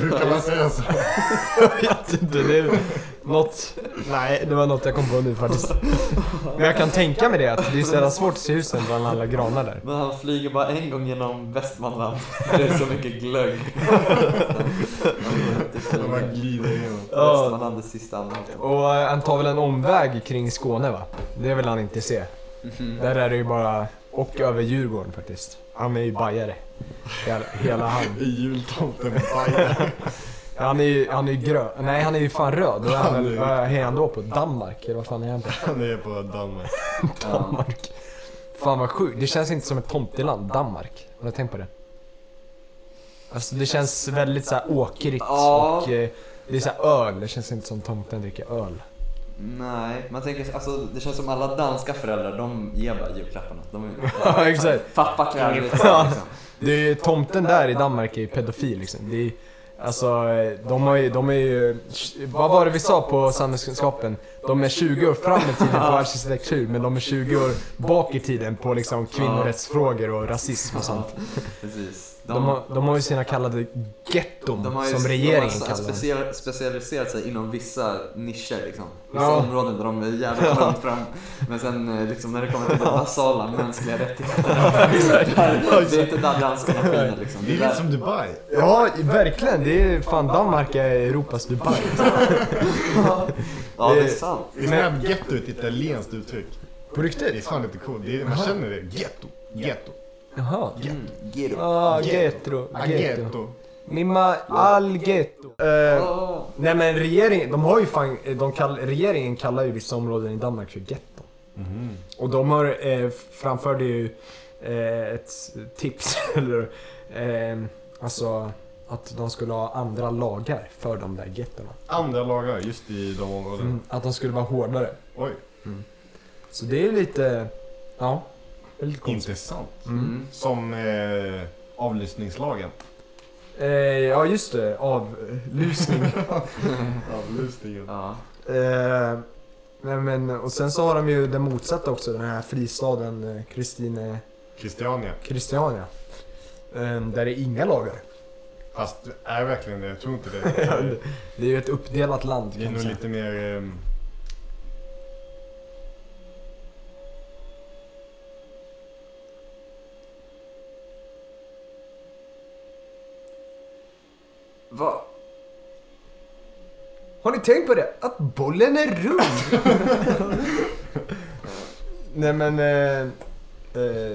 Brukar man säga så?
vet inte, det är något... Nej, det var något jag kom på nu faktiskt. Men jag kan tänka mig det, att det är så jävla svårt att se husen bland alla granar där.
Men han flyger bara en gång genom Västmanland. Det är så mycket glögg.
De bara glider igenom.
Västmanland är sista anhalten.
Och eh, han tar väl en omväg kring Skåne va? Det vill han inte se. Där är det ju bara... Och över Djurgården faktiskt. Han är ju bajare. Hela, hela han.
I jultomten Bajen.
Han är ju, han är ju grön. Nej, han är ju fan röd. Då är han väl, vad är han då på? Danmark? Eller vad fan är han på?
Han är på Danmark.
Ja.
Danmark. Fan vad sjukt. Det känns inte som ett tomteland, Danmark. Har du tänkt på det? Alltså det känns väldigt så här åkrigt
Ja.
och eh, det är så här öl. Det känns inte som tomten dricker
[laughs]
öl.
Nej, man tänker alltså det känns som alla danska föräldrar, de ger bara julklapparna. De är,
Ja, exakt.
pappa klär ut sig
Ja.
liksom.
Det är ju, tomten där i Danmark är ju pedofil liksom. Det är, alltså eh, de har ju, de är ju, vad var det vi sa på samhällskunskapen? de är 20 år fram i tiden på arkitektur men de är 20 år bak i tiden på liksom kvinnorättsfrågor och rasism och sånt.
Precis.
De, har, de har ju sina kallade getton
de har ju
som regeringen
de har
kallar dem.
special, specialiserat sig inom vissa nischer liksom. Vissa
Ja.
områden där de är jävligt långt fram. Men sen eh, liksom när det kommer till de basala mänskliga rättigheterna. det är inte där danskarna skiner liksom.
Det är
där-
lite som Dubai.
Ja, verkligen. Det är fan Danmark är Europas Dubai.
Ja,
det-
det är sant.
Det är såhär getto, ett italienskt uttryck.
På
Det är
riktigt?
fan lite coolt. Det är, man känner det. Getto. Getto.
Jaha.
Mm, get it.
Ah,
Ghetto.
getto.
Ah,
Getto.
Getto.
Mimma all getto. Eh,
Åh.
nej men regeringen, de har ju fan, eh, de kall, regeringen kallar ju vissa områden i Danmark för getto. Och de har eh, framförde ju eh, ett tips, [laughs] eller eh, alltså att de skulle ha andra lagar för de där gettorna.
Andra lagar just i de områdena.
Mm, att de skulle vara hårdare.
Oj,
Så det är ju lite, ja, det är lite konstigt.
intressant.
Mm.
Mm.
Som eh, avlyssningslagen.
Eh, ja just det, avlusning.
Avlyssningen.
Ja.
Eh, nej men, och sen så har de ju den motsatta också, den här fristaden eh, Kristine,
Christiania.
Christiania. Eh, där det är inga lagar.
Fast är verkligen det, jag tror
[laughs]
inte det.
Det är ju ett uppdelat land
Det
kan
är
man
nog
säga.
lite mer... ehm,
Vad?
Har ni tänkt på det? Att bollen är rund!
[laughs]
nej men... Eh, eh,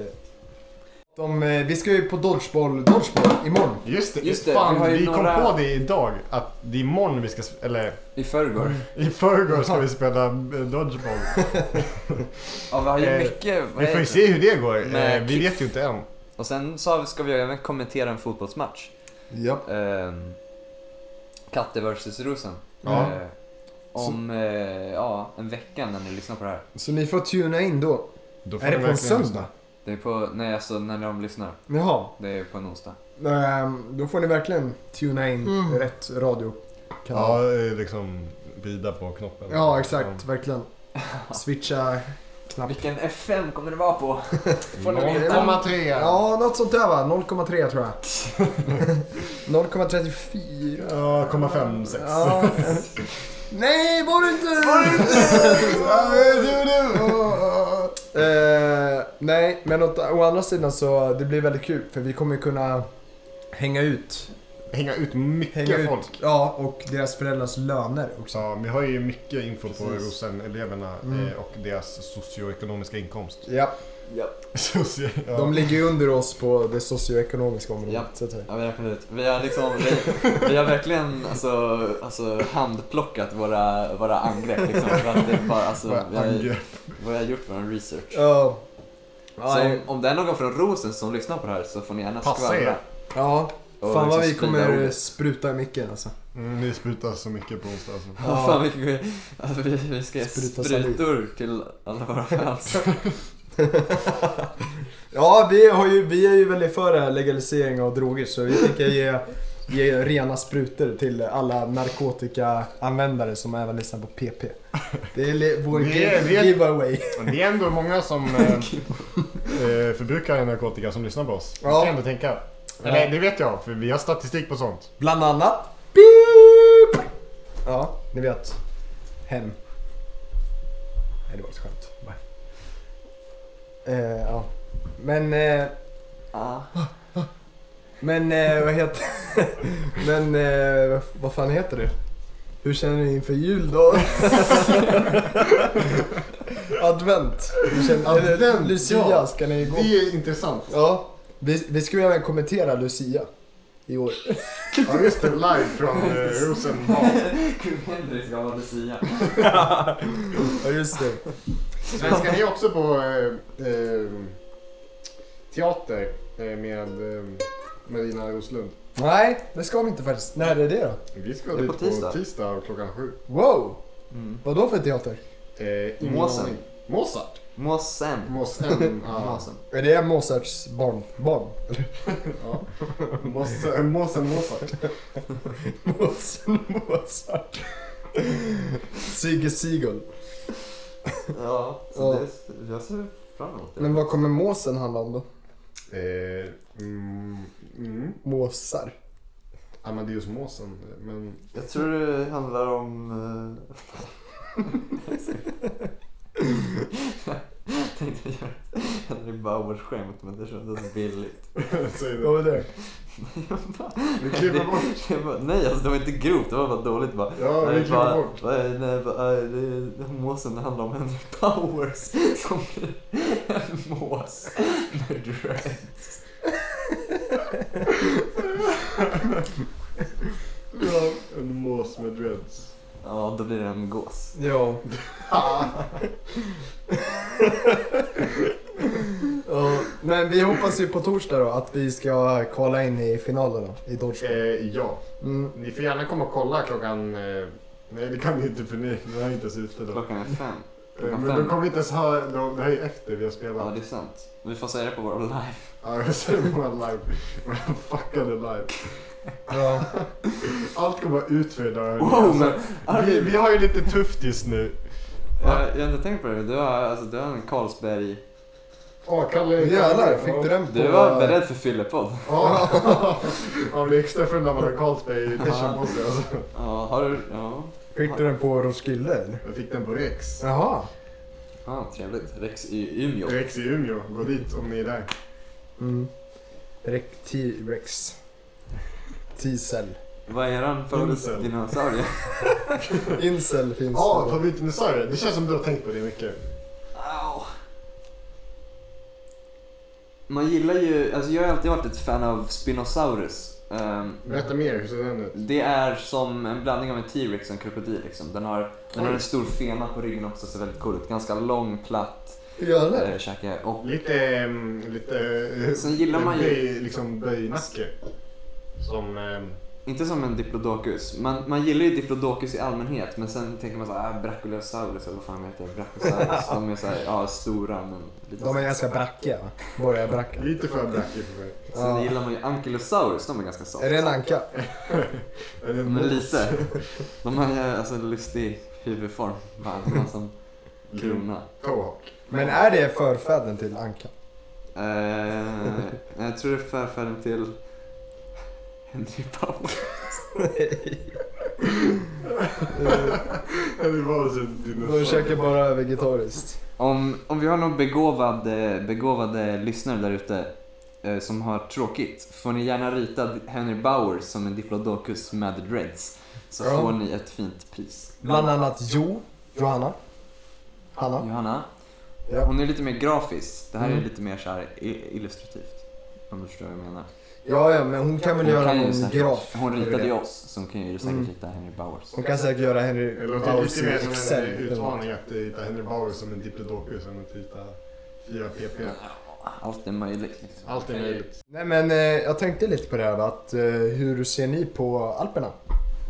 de, eh, vi ska ju på dodgeball, dodgeball imorgon.
Just det,
Just det, vi
fan,
har ju
vi,
några-
kom på det idag. Att det är imorgon vi ska... sp- Eller
I förrgår?
i förrgår ska vi spela eh, Dodgeball.
[laughs] Ja, vi har ju
Eh,
mycket. vad
Vi får
är-
ju se hur det går.
Med
Eh, vi
kick.
vet ju inte än.
Och sen så ska vi även kommentera en fotbollsmatch.
Ja.
Ehm, Katte vs Rosen.
Ja.
Eh, om eh, ja, en vecka när ni lyssnar på det här.
Så ni får tuna in då.
Då får
Är det
vi
på en
verkligen-
söndag?
Det är på, nej alltså när de lyssnar.
Jaha.
Det är på en onsdag.
Ehm, Då får ni verkligen tuna in
Mm.
rätt radio.
Ja, eh, liksom vrida på knoppen.
ja, exakt. Verkligen. Switcha knapp.
Vilken FM kommer det vara på? Får ni veta?
0,3. Ja.
Ja, något sånt där va? 0,3 tror jag. 0,34.
0,56.
Ja. Nej, var det inte! Var det
Ja, men det är du.
[laughs] Eh, nej, men åt, å andra sidan så det blir väldigt kul för vi kommer ju kunna hänga ut.
[laughs] Hänga ut mycket
Hänga ut.
folk.
Ja, och deras föräldrars löner också.
Så vi har ju mycket info på
Precis.
Rosen-eleverna
Mm.
eh, och deras socioekonomiska inkomst.
Ja,
Ja.
Socio-
[laughs]
ja.
de ligger ju under oss på det socioekonomiska området.
Ja.
Så att säga.
Ja, vi har räknat ut. Vi har liksom, vi, vi har verkligen alltså, alltså handplockat våra, våra angrepp liksom. För att det är bara, alltså,
Bara
vi, har, ju-
angrepp.
vi har gjort vår research.
Ja.
Så om, om det är någon från Rosen som lyssnar på det här så får ni gärna
Passa
skvallra.
er.
Ja,
Och
fan vad
liksom
vi
sprida
kommer
ordet.
spruta i micken alltså.
Mm, ni sprutar så mycket på onsdag. Alltså.
Ja, fan vi, alltså, vi, vi ska ge
Spruta
sprutor till alla våra fans.
Ja, vi, har ju, vi är ju väldigt för det här legalisering av droger så vi tänker ge, ge rena sprutor till alla narkotikaanvändare som även lyssnar på PP. Det är li- vår
Det är-
gi-
det är-
giveaway.
Men Det är ändå många som
[laughs]
eh, eh, förbrukar narkotika som lyssnar på oss. Det kan
Ja.
jag ändå tänka. Eller det vet jag, för vi har statistik på sånt.
Bland annat... Beep! Ja, ni vet. Hem. Nej, det var ett skämt. Bye. Eh, ja. Men... Eh,
Ja.
Men eh, vad heter... [laughs] Men eh, vad fan heter det? Hur känner ni inför jul då? [laughs] Advent. Hur känner, eller
Advent,
Lucia
ja.
ska ni gå.
är intressant.
Ja. Vi, vi ska ju även kommentera Lucia i år.
Ja, just det. Live från eh, Rosenbad.
Kung Henry ska vara lucia.
Ja just det.
Men ska ni också på eh, eh, teater eh, med eh, Marina Roslund?
Nej, det ska vi inte faktiskt. När är det då?
Vi ska
Det är
dit
på
på
tisdag.
tisdag, klockan sju.
Wow!
Mm.
Vad då för teater?
Eh, ingen
Måsen.
aning. Mozart?
Måsen. [laughs]
Måsen. ja.
Måsen.
Är det Mozarts barn? Barn? Eller?
Ja. eh, Måsen, Måsen Mozart.
Måsen Mozart. Sigge Sigel.
Ja, så
Ja.
Det, jag ser fram emot det.
Men vad kommer måsen handla om då?
Eh, mm, mm.
Måsar?
Amadeusmåsen. Men
Jag tror det handlar om... eh, [laughs] jag tänkte göra ett Henry Bauer-skämt men det kändes billigt.
säg
Vad var
det.
det?
Jag bara-
Vi klipper bort.
jag bara, nej alltså det var inte grovt, det var bara dåligt bara.
Ja, vi
Nej,
klipper
bara,
bort.
nej, nej, bara, eh, det- Måsen det handlar om Henry [laughs] Powers som blir en mås med dreads.
Ja, en mås med dreads.
Ja, då blir det en gås.
Ja. ja. Men vi hoppas ju på torsdag då att vi ska kvala in i finalen då, i
Eh,
Dodge.
ja,
Mm.
ni får gärna komma och kolla klockan... Eh, nej, det kan ni inte för ni, ni har inte ens ute då.
Klockan är fem.
Eh,
Klockan
Men de
fem.
kommer inte ens höra, de- det här är efter vi har
Ja,
spelat.
det är sant. Vi får säga det på vår live.
Ja, jag ser det på live. Men fuckade live.
Ja.
Allt kommer vara ut för idag.
Wow, men
vi,
Arvid,
vi har ju lite tufft just nu.
jag, jag har inte tänkt på det. Du har, alltså, du har en Carlsberg.
Åh, Kalle.
Jävlar, fick du den på...
Du var beredd för fyllepodd.
Ja, man blir extra full när man har Carlsberg i tishan på sig. Alltså.
Ja, har du... Ja,
Fick du den på Roskilde eller?
Jag fick den på Rex.
Jaha.
ah, trevligt. Rex i Umeå.
Rex i Umeå, gå dit om ni är där.
Mm. Rek- T-rex. T-cell.
Vad är eran favoritdinosaurie?
Incel finns
Ja,
det.
favoritdinosaurie. Det känns som du har tänkt på det mycket.
Au. Man gillar ju... Alltså jag har alltid varit ett fan av Spinosaurus. Ehm,
Berätta mer, hur ser den ut?
det är som en blandning av en T-rex och en krokodil. Liksom. Den, har, den har en stor fena på ryggen också, ser väldigt cool ut. Ganska lång, platt
Jävlar.
äh, käke. Och
Lite, ehm, lite... eh,
Sen gillar man ju-
böj- Liksom böjnacke. Som... ehm,
Inte som en diplodocus. Man, man gillar ju diplodocus i allmänhet men sen tänker man såhär, ah, brachiosaurus eller vad fan heter det? Brachiosaurus. de är såhär, ja stora men lite
De är ganska brackiga va? Borgarbracka.
lite för brackig för mig.
Sen
Ja.
gillar man ju ankylosaurus, de är ganska
Är
softa.
det en anka?
Är det en
Men
mås?
lite. De har ju alltså en lustig huvudform. Bara,
[laughs]
de har som krona.
Tomahawk.
Men är det förfäden till ankan?
Eh, jag tror det är förfäden till Henry Powell.
Eller vad är en
De käkar
dinosaurie?
bara vegetariskt.
Om, om vi har någon begåvad, eh, begåvade lyssnare där ute eh, som har tråkigt får ni gärna rita Henry Bauer som en diplodocus med dreads. Så
Ja.
får ni ett fint pris.
Bland annat Jo, Johanna, Hanna.
Johanna,
Ja.
hon är lite mer grafisk. Det här är
Mm.
lite mer så här i- illustrativt. Om du förstår vad jag menar.
Ja, ja, men hon kan väl
Hon
göra
kan ju
någon
säkert-
graf.
Hon ritade ju
ju
oss, så hon kan ju säkert
Mm.
rita Henry Bowers.
Hon kan säkert göra
Det
Henry
låter
Bowers
lite
i
mer som en
Excel.
eh, utmaning att eh, hitta Henry Bauer som en diplodocus än att hitta 4PP.
Allt är möjligt. Liksom.
Allt är möjligt.
Nej men eh, jag tänkte lite på det här va, att eh, hur ser ni på Alperna?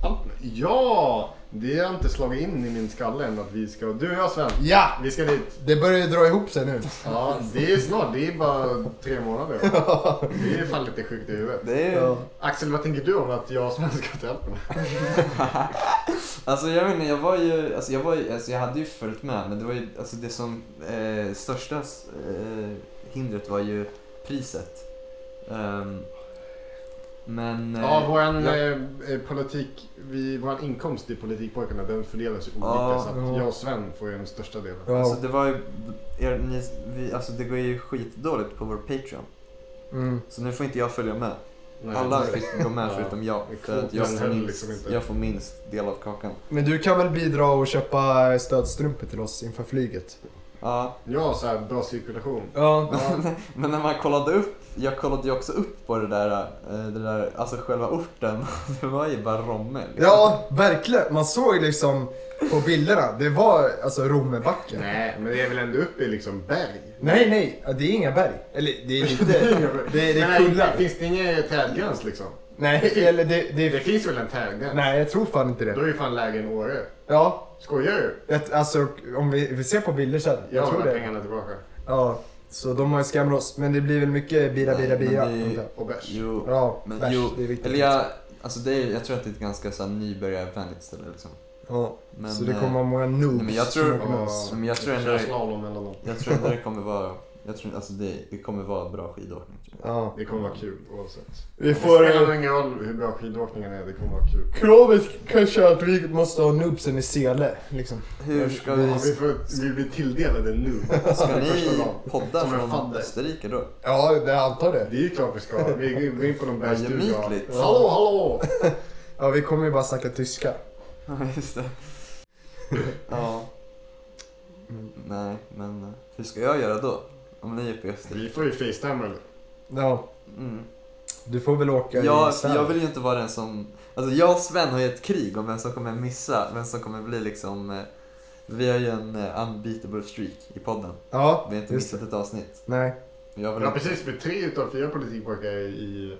Allt. Ja! Det har inte slagit in i min skalle än att vi ska... Du och jag Sven,
Ja!
vi ska dit.
Det börjar ju dra ihop sig nu. [laughs]
Ja, det är snart. Det är bara tre månader. Det är fan lite sjukt i huvudet.
Det är,
Ja.
Axel, vad tänker du om att jag och Sven ska till Alperna?
[laughs] Alltså jag menar, jag var ju, alltså jag var ju, alltså jag hade ju följt med men det var ju, alltså det som, eh, största eh, hindret var ju priset. Ehm, men... eh,
Ja, våran
jag-
eh, eh, politik, vi, våran inkomst i politikpojkarna den fördelas ju olika
Ja.
så
Ja.
att jag och Sven får ju den största delen.
Ja.
Alltså det var ju, er, ni, vi, alltså det går ju skitdåligt på vår Patreon.
Mm.
Så nu får inte jag följa med.
Nej,
Alla
det-
fick gå med
Ja.
förutom jag.
Men
För att
kvoten
jag får,
höll
minst,
liksom inte.
jag får minst del av kakan.
Men du kan väl bidra och köpa stödstrumpor till oss inför flyget?
Ja.
Ja, så här, bra cirkulation.
Ja.
Men när man kollade upp, jag kollade ju också upp på det där, eh, det där alltså själva orten. [laughs] Det var ju bara Romme. liksom.
Ja, verkligen. Man såg liksom på bilderna, det var alltså Romebacken.
Nej, men det är väl ändå uppe i liksom berg?
Nej, nej, ja, det är inga berg. Eller det är
[laughs] Det
lite... det är
Men,
kullar.
Finns det ingen trädgräns liksom?
nej, eller det, det
Det
är...
finns väl en trädgräns?
Nej, jag tror fan inte
Då
det.
är ju fan lägre än Åre.
Ja,
Skojar du?
ett, alltså om vi, vi ser på bilder sen.
Jag
Jag
har
tror
bara
det.
pengarna tillbaka.
Ja, så de har ju skammat oss. Men det blir väl mycket bira, bira,
Nej, men
bira.
det-
antar jag.
Och bärs.
Jo.
Ja,
Men
bärs.
jo,
Det är viktigt.
Eller jag, alltså det är, jag tror att det är ett ganska så här, nybörjarvänligt ställe liksom.
Ja,
Men,
så det kommer
eh,
vara många noobs.
nej, men jag tror-
som åker med oss.
men jag tror ändå-
det... Slalom mellan dem.
Jag tror ändå det kommer vara... Jag tror, alltså det, det kommer vara bra skidåkning. typ. Tror jag.
Ja.
Det kommer vara kul oavsett.
Vi
Det
får...
spelar ingen roll hur bra skidåkningen är, det kommer vara kul.
Kravet kanske är att vi måste ha noobsen i sele, liksom.
Hur ska
Ja,
vi...
vi, får, vi blir tilldelade nu.
Ska
Första
ni
dagen.
podda
Som en
från
fadder.
Österrike då?
Ja, jag antar det.
Det är ju klart vi ska. Vi går in på någon
Ja,
bergsstuga.
gemytligt.
Hallå, hallå!
Ja, vi kommer ju bara snacka tyska.
Ja, just det. Ja. Nej, men eh, hur ska jag göra då? Om ni är på Österrike?
Vi får ju facetimea nu.
Ja,
Mm.
du får väl åka
Jag,
i sele.
jag vill ju inte vara den som... Alltså jag och Sven har ju ett krig om vem som kommer missa, vem som kommer bli liksom... eh, Vi har ju en eh, unbeatable streak i podden.
Ja,
Vi har inte
just
missat ett avsnitt.
Nej.
Jag vill
Ja precis, för tre utav fyra politikpojkar är i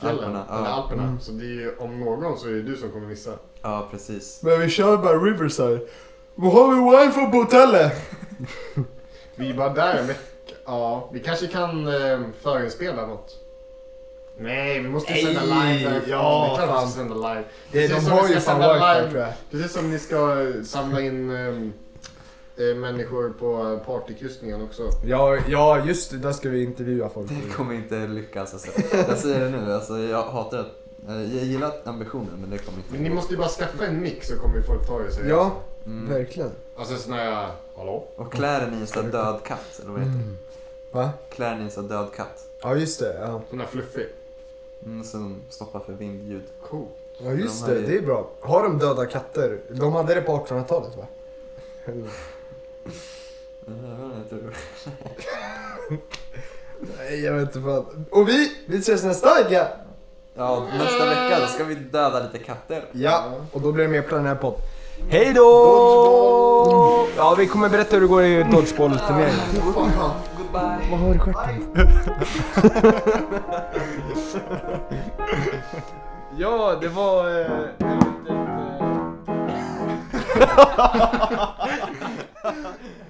fjällen.
Alperna, ja.
Eller Alperna.
Mm.
Så det är ju, om någon så är det du som kommer missa.
Ja,
[laughs]
precis.
Men vi kör bara Riverside. Vad har vi wifi på hotellet?
Vi är bara där men, Ja, vi kanske kan eh, förinspela något. Nej, vi måste
Nej,
sända live därifrån.
ja,
det är klart vi
fan.
ska sända live.
Det,
Precis
de
som
har
vi
ju
ska
fan
sända
wifi
live.
tror jag.
Precis som ni ska eh, samla in ehm, eh, människor på partykryssningen också.
Ja, ja just det, där ska vi intervjua folk.
Det kommer inte lyckas alltså. Jag säger det nu, alltså jag hatar att... eh, Jag gillar ambitionen men det kommer inte
Men ni måste ju bara skaffa en mix så kommer ju folk ta det seriöst.
Ja,
mm.
verkligen.
Alltså sån här, hallå?
Och klär ni en sån här död katt, eller vad heter det?
Va?
Klär ni en sån här död katt.
Ja just det, ja.
Sån här fluffig.
Mm, som stoppar för vindljud.
Cool.
Ja just
De har
det,
ju-
det är bra. Har de döda katter? De hade det på 1800-talet va?
Eh, vad heter det?
Nej jag vet inte fan. Och vi, vi ses nästa vecka!
Ja, nästa vecka då ska vi döda lite katter.
Ja, och då blir det mer planerad Hej då! Ja, vi kommer berätta hur det går i dodgeball-turneringen.
Goodbye.
Vad har du i stjärten? ja, det var... Eh, det var ett, eh...